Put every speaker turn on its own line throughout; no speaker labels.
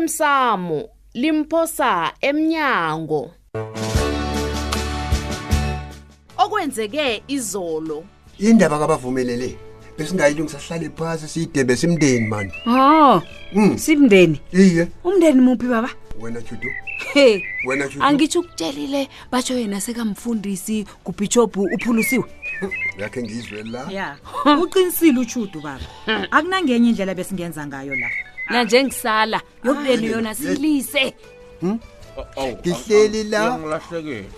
osemsamo limphosa emnyango okwenzeke izolo
indaba kabavumelele besingayilungisa sihlale phasi siyidebe simndeni mani
ho
Mm.
simndeni
iye
umndeni muphi baba
wena judu
he
wena judu
angitsho ukutshelile batsho yena sekamfundisi kubhishobhu uphulusiwe
yakhe ngizwe la
ya uqinisile utshudu baba akunangenye indlela besingenza ngayo la Ah, eh,
nanje ngisala yobuleni yona silise
Oh,
Ngihleli la.
ngilahlekela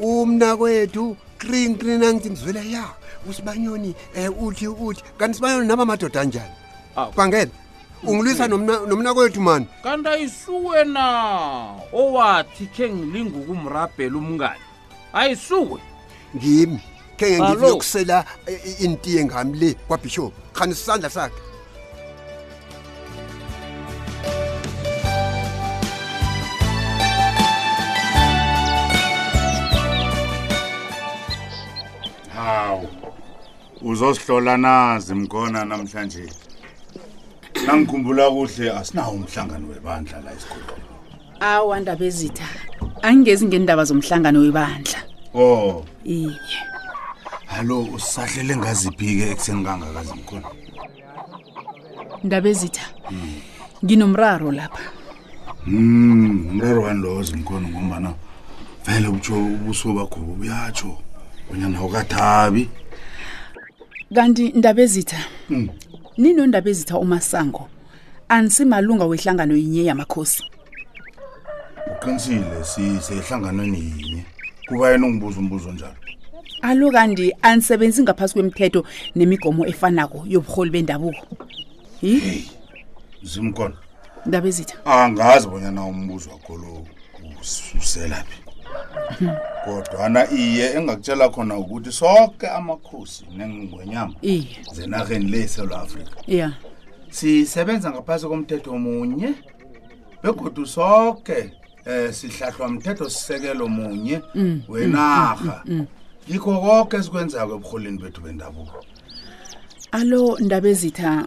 umna kwethu kring kring angithi ngizwela ya usibanyoni um uthi uthi kanti sibanyoni naba madoda anjani
Awu.
bangela ungilwisa nomna- nomna kwethu mani
Ah, kanti ayisuwe na owathi khe ngilinga ukumrabhela umngani ayisuwe
ngimi khe nge
Alo.
ngiyokusela eh, eh, intiye ngami le kwabhishophu khani sisandla sakhe
hawu uzosihlola nazi mkhona namhlanje nangikhumbula kuhle asinawo umhlangano webandla la esigodlweni
awu andaba ezitha angingezi ngendaba zomhlangano webandla
o
iye
halo usahlele ngaziphi-ke ekuseni kangakazi mkhona
ndaba ezitha nginomraro lapha
Mm, umraro wani lowo zimkhona ngombana vele utsho ubuso bakho uyatsho bonyana awukathabi
kanti ndaba ezitha ninondaba ezitha umasango anisimalunga wehlangano yinye yamakhosi
uqinisile sisehlanganweni yinye kuba yena ungibuza umbuzo njalo
alo kanti anisebenzi ngaphasi kwemithetho nemigomo efanako yobuholi bendabuko yi
zimkhona
ndaba ezitha
angazi bonyana umbuzo wakho lo ususelaphi kodwana iye engakutshela khona ukuthi sonke amakhosi nengwenyama
iye
zenarheni le esewula afrika
ya
sisebenza ngaphasi komthetho munye begodu sonke um sihlahlwa mthetho sisekelo munye wenarha yikho konke esikwenzako ebuholeni bethu bendabuko
alo ndaba ezitha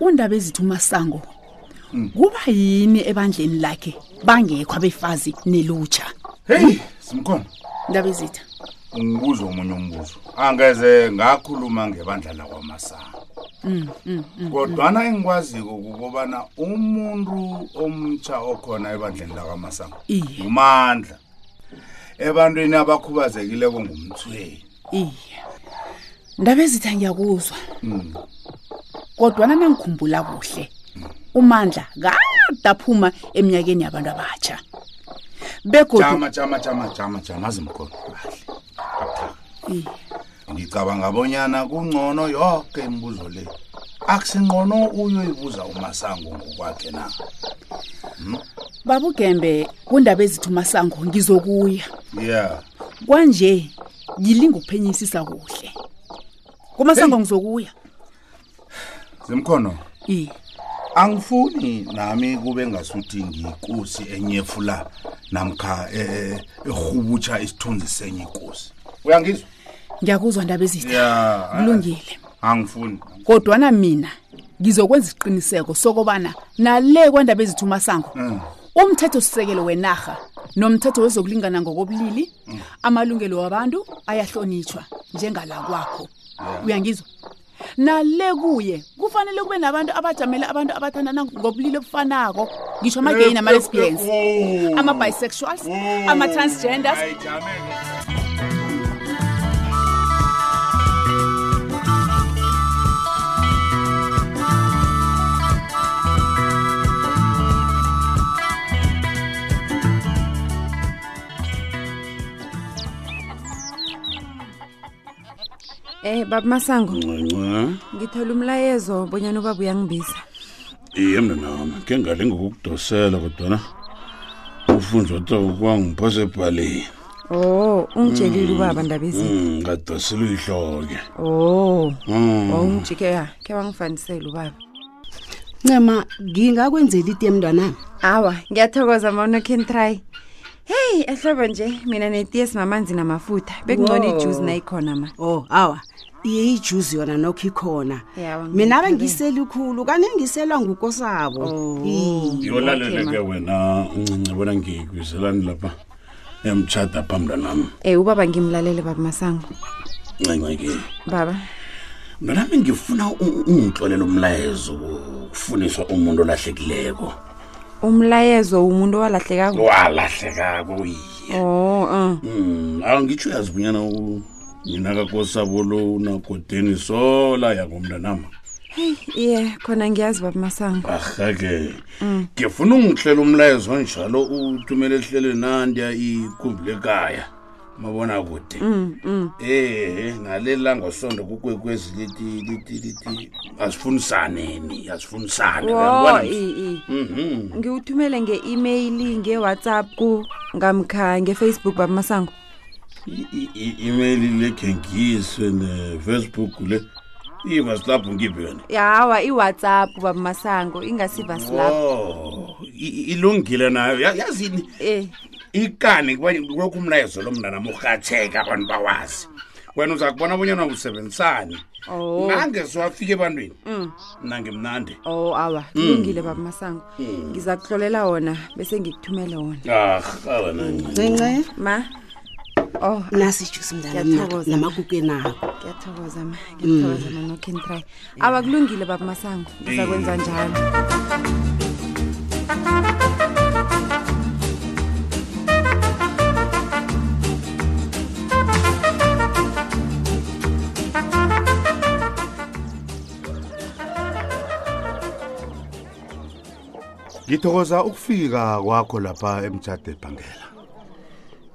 undaba ezitha umasango kuba yini ebandleni lakhe bangekho abefazi nelutsha
heyi simkhona
ndaba ezitha
ungibuza omunye umbuzo angeze ngakhuluma ngebandla lakwamasana kodwana engikwaziko kukobana umuntu omtsha okhona ebandleni lakwamasana
Iye.
umandla ebantwini abakhubazekileko ngumthweni
iye ndaba ezitha ngiyakuzwa kodwana nangikhumbula kuhle umandla kade aphuma eminyakeni yabantu abatsha begodu
jama jama jama jama jama zimkhona kahle Kabuthaka.
Iye.
ngicabanga bonyana kungcono yonke imibuzo le akusinqono uyoyibuza umasango ngokwakhe na
babugembe kundaba ezitha umasango ngizokuya
yeah
kwanje ngilinga ukuphenyisisa kuhle kumasango ngizokuya
zimkhono
iye
angifuni nami kube ngasuthi ngiyikosi enyefula namkha eh, eh, ehubutsha isithunzi senye ikosi uyangizwa
ngiyakuzwa ndaba ezitha
ya
kulungile
angifuni
kodwana mina ngizokwenza isiqiniseko sokobana nale kwendaba ezitha umasango umthethosisekelo wenarha nomthetho wezokulingana ngokobulili amalungelo wabantu ayahlonitshwa njengala kwakho uyangizwa nale kuye kufanele kube nabantu abajamela abantu abathandana ngobulili obufanako ngisho amageyi nama-lesbians ama-bisexuals ama-transgenders
Eh baba Masango. Ngithola umlayezo bonyana ubaba uyangibiza.
iye mna nami ke ngale ngokukudosela kodwana ufunza wathi kwangiphose ebhaleni
Oh, ungitshelile ubaba ndaba ezi.
Mm, ngadosela uyihloke Mm.
Oh, wawungijike ya, ke wangifanisela ubaba.
ncema ngingakwenzela iti emntwanami
Awa, ngiyathokoza mawuna can try. Hey, ehlobo nje mina netiye sinamanzi namafutha. Bekungcono ijuice nayikhona ma.
o Oh, awa iyeyijuzi yona nokho ikhona
Yawa,
mina
ngiyithabe.
bengiselikhulu kanengiselwa ngukosabo
Oh.
yolaleleke wena uncinci bona ngikwizelani lapha emtshada phambi nami
Eh ubaba ngimlalele baba Masango.
ncincike
Baba,
mntanami ngifuna u- ungixolele umlayezo ukufuniswa umuntu olahlekileko
umlayezo umuntu walahlekako.
walahlekako
Oh, uh.
Mm, awu ngitsho uyazibunyana u- nina kakosabo lo unagodeni sola yakomntanama
Hey, yeah, khona ngiyazi baba Masango.
arhake ngifuna ungihlela umlayezo onjalo uthumele ehlelweni nandiya ikumbi lekaya mabona kude
Mm, mm.
ehe nalela ngosondo kukwekwezi lithi lithi lithi asifundisane ni asifundisane
Wo, i i.
Mhm.
Ngiwuthumele nge-email, nge-WhatsApp ku ngamkha nge-Facebook baba Masango.
I- i- i-email lekhengiswe nefacebook le ivasilapho ngiphi yona
Yawa, i-WhatsApp baba Masango ingasiva slap.
Wo, i- ilungile nayo Ya- yazini
Eh,
ikani kubanye- kulokhu umlayezo lo mntanam urhatheka abantu bawazi wena uza kubona bonyana usebenzisani
oh.
nange siwafika ebantwini
Mm.
nangemnandi
Oh, awa, kulungile baba Masango. Ngizakuhlolela wona bese ngikuthumele wona.
arha wena
ncince
Ma. Oh,
nasi ijusi mntanam
Ngiyathokoza.
namakuke nakho
ngiyathokoza ma ngiyathokoza ma no can try awa kulungile baba masango ngizakwenza njalo
ngithokoza ukufika kwakho lapha emtshade bhangela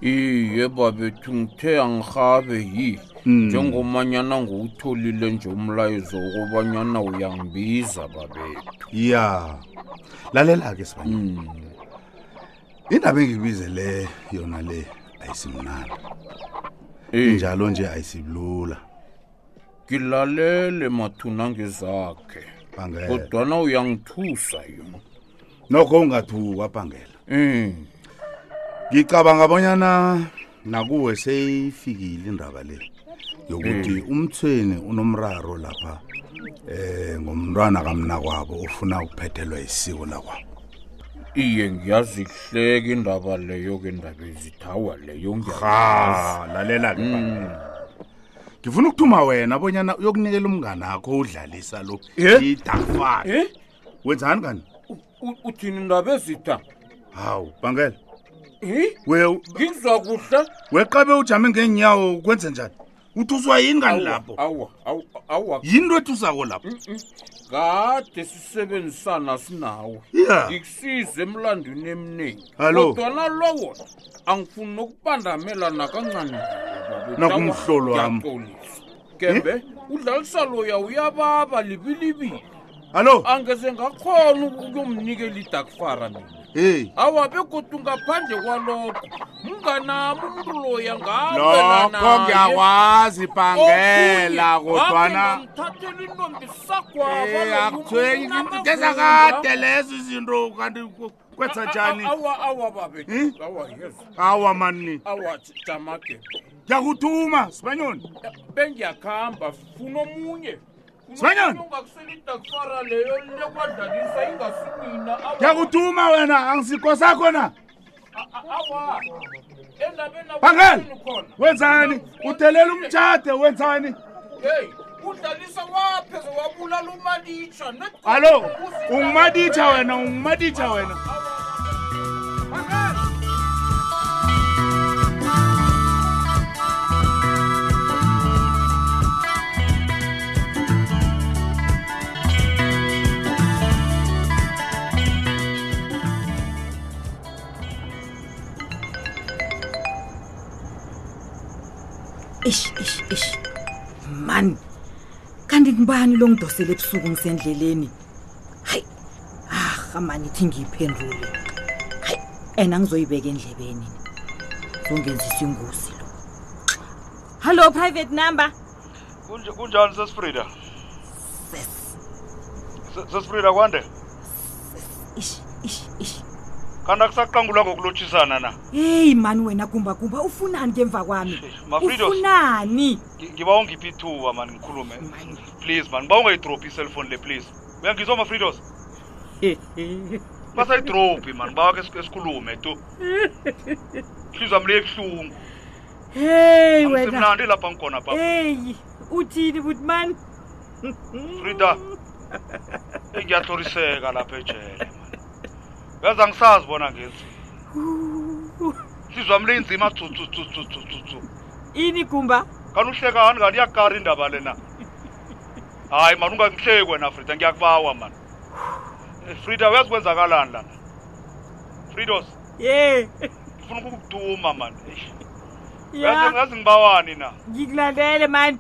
iye babethu ngithe angihabe yi
Hmm.
Mm.
njengomanyana nguwutholile nje umlayezo wokobanyana uyangibiza babethu
Hmm.
ya lalela-ke sibanyoni indaba engikubizele yona le ayisimnandi
Eh.
injalo nje ayisilula
ngilalele mathuna ngezakhe
Eh.
bhangela
kodwana uyangithusa yona
nokho ungathukwa bhangela
Eh,
ngicabanga abanyana nakuwe seyifikile indaba le yokuthi umthweni unomraro lapha eh ngomntwana kamna kwabo ufuna ukuphethelwa isiko lakwabo
iye ngiyazihleka indaba leyo ke ndaba ezithawa leyo
ha lalela ke Mm. ngifuna ukuthuma wena abonyana uyokunikela umngane akho udlalisa lo idakfa wenzani kani
uthini indaba ezitha
hawu bangela
Eh?
we
ngizwa kuhle
weqabe ujame ngeenyawo kwenze njani uthuswa yini kani
Awa,
lapho
awa awa awa
yinto ethusako lapho
kade sisebenzisana sinawe
Ya.
ngikusiza emlandwini eminingi
Hallo.
kodwana lowo angifuni nokubandamela nakancane
Nakumhlolo wami.
kembe udlalisa loya uyababa libilibili
hallo
angeze ngakhona ukuyomnikela idakfara mina
hey
awa begodu ngaphandle kwalokho mnganami umntu loya
lokho ngiyakwazi bhangela kodwana
kodwanamthathela intombi
Eh, akuthwenyi
sakwabo
ngezakade lezo izinto kanti ku- kwenza njani
awa awa babe
Hmm?
awa yezo
awa mani
awa jamake
ngiyakuthuma sibanyoni
bengiyakuhamba funa omunye Funa
Sibanyoni!
omunye ongakusela idakfara leyo lekwadlalisa ingasimina
ngiyakuthuma wena angisikosakho na
awa endabeni
bhangela
akutheni khona
wenzani udelela umtshade wenzani
hey udlalisa wapheze wabulala umaditsha
hallo ungumaditsha wena ungumaditsha wena
ish ish ish mani kanti ngibani lo ngidosele ebusuku ngisendleleni hayi arha mani ithi ngiyiphendule hayi ena ngizoyibeka endlebeni zongenzisa ingozi lo hallo private number
Kunj- kunjani sesifrida sesifrida kwande
ish ish ish
kanti akusaqangulwa ngokulotshisana na
heyi mani wena gumbagumba ufunani ngemva kwami
Mafridos.
ufunani
Ngi- ngiba ungiphi ithuba mani ngikhulume please mani ngiba ungayidrobhi iselfoni le please uyangizwa mafridos basayidrobhi mani bawakhe esikhulume tu hliziyo wami liyebuhlungu
heyi wena
angisemnandi lapha ngikhona pha
heyi uthini butimani
frida ngiyatloriseka lapha ejele mani yaza ngisazi bona ngenzi hliziyo wami linzima tsutsutsutsutsutsu
ini gumba
kanti uhlekani kanti iyakari indaba le na hayi mani ungangihleki wena frida ngiyakubawa mani Eh, frida uyazi kwenzakalani lana fridos
ye
ngifuna ukukuduma mani Eish. Yazi-
ya
yazi ngibawani na
ngikulandele mani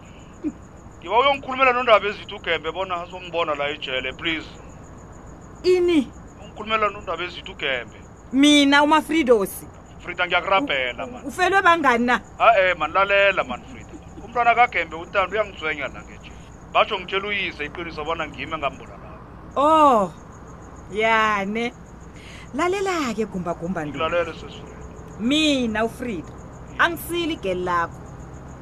ngiba uyongikhulumela nondaba ezithi ugembe bona azongibona la ejele please
ini
ungikhulumela nondaba ezithi ugembe
mina umafridosi
frida ngiyakurabhela mani
ufelwe bangani na
ha-e mani lalela mani frida umntwana kagembe utanda uyangizwenya la ngejele batsho ngitshela uyise iqiniso bona ngime ngambulalayo
oh yane lalela-ke gumbagumba ntoni
lalela sesifrida
mina ufrida angisili igeli lakho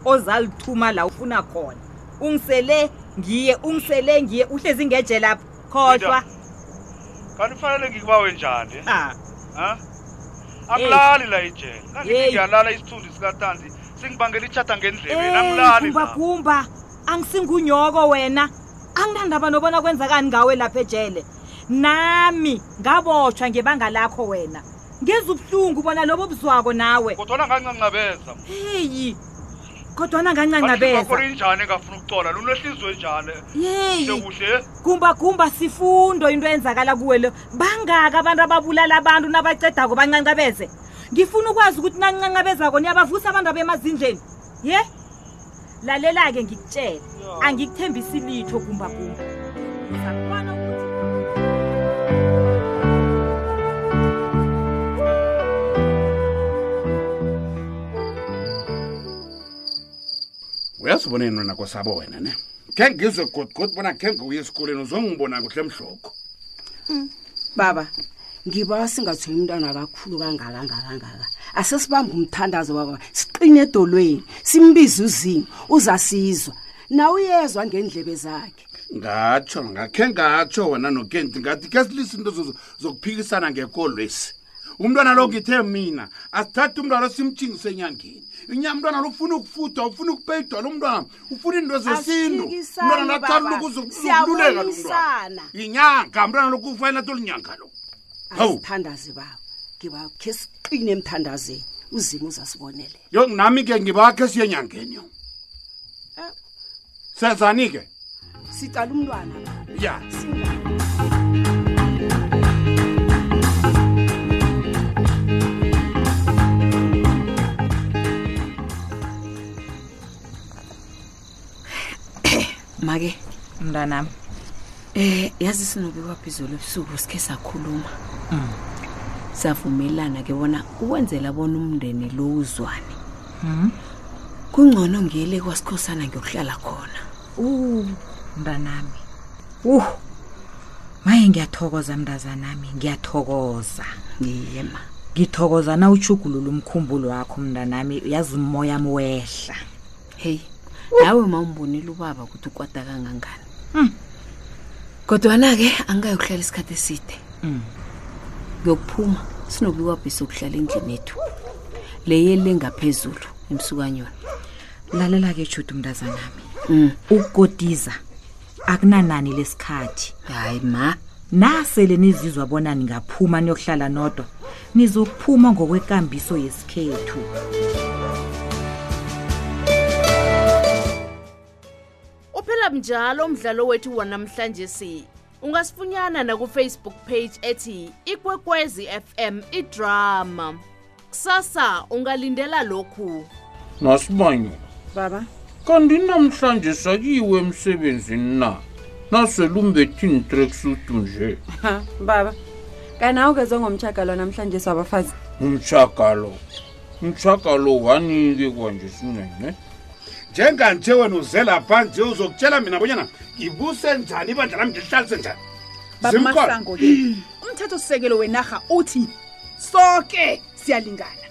ozalithuma la ufuna khona ungisele ngiye ungisele ngiye uhlezi ngeje lapho khohlwa
kanti kufanele ngikubawe njani eh?
Ah.
Ha? angilali la ijele
Hey.
nangithi ngiyalala isithundi sikatanzi singibangela itshata ngendlebeni angilali la
gumbagumba Eh, angisingunyoko wena anginandaba nobona kwenzakani ngawe lapha ejele nami ngabotshwa ngebanga lakho wena ngenza ubuhlungu bona lobo buzwako nawe
kodwana ngancancabeza
heyi kodwana ngancancabeza
injani engafuna ukucola lunehliziyo enjani
yeyi
kuhle eh?
gumbagumba sifundo into eyenzakala kuwe lo bangaka abantu ababulala abantu nabacedako bancancabeze ngifuna ukwazi ukuthi nanincancabezako niyabavusa abantu abemazindleni ye lalela-ke ngikutshele angikuthembisi litho gumbagumba uzakubona
uyazibona yini wena kosabo wena ne khe ngizwe godgod bona khe ngiwuye esikoleni uzongibona kuhle mhloko
baba ngiba singathoyi umntwana kakhulu kangaka ngakangaka asesibambe umthandazo baba siqine edolweni simbize uzimo uzasizwa nawe uyezwa ngendlebe zakhe
ngatsho ngakhe ngatsho wena nokenti ngathi ke silise into zo- zokuphikisana ngekolwesi umntwana lo ngithe mina asithathe umntwana lo simthingise enyangeni inya mntwana lo ufuna ukufudwa ufuna ukupeyidwa lo mntwana ufuna into zesintu
Asiphikisani,
umntwana
baba.
lokuzokululeka lo mntwana
Siyabonisana.
inyanga mntwana lo kufanele atolinyanga lo hawu
asithandaze baba ngiba khe siqine emthandazeni uzimo uzasibonele
yo nami ke ngibakhe siye enyangeni yo senzani ke
Eh. sicala umntwana
ya
make
mntanam
um yazi sinobe waphizolo ebusuku sikhe sakhuluma savumelana ke bona ukwenzela bona umndeni lo uzwane kungcono ngiyele kwasikhosana ngiyokuhlala khona
u mntanami uh maye ngiyathokoza mntazanami ngiyathokoza
yema
ngithokoza na uchugulula umkhumbulo wakho mntanami yazi umoya wami wehla
heyi nawe ma umbonile ubaba ukuthi ukwada kangangani kodwana-ke angingayokuhlala isikhathi eside
Mm.
ngiyokuphuma sinobiwabhi sokuhlala endlini yethu leyeli lengaphezulu emsukanyoni
lalela-ke judu mntazanami
Mm.
ukukotiza akunanani lesikhathi
hayi ma
nasele nizizwa bona ningaphuma niyokuhlala nodwa nizokuphuma ngokwekambiso yesikhethu
uphela mnjalo umdlalo wethu wanamhlanje si ungasifunyana nakufacebook page ethi ikwekwezi fm idrama kusasa ungalindela lokhu
nasibanyula
baba
kanti namhlanje sayiwe emsebenzini na naselumbethini treksutu nje
ha baba kanawo kezwe ngomtshagalwa namhlanje sabafazi
umtshakalo umtshakalo wanike kwanje sinene
njenganje wena uze lapha nje uzokutshela mina bonyana ngibuse njani ibandla lami ngilihlalise njani
Baba
Zimkhona.
Masango-ke umthetho sisekelo wenarha uthi soke siyalingana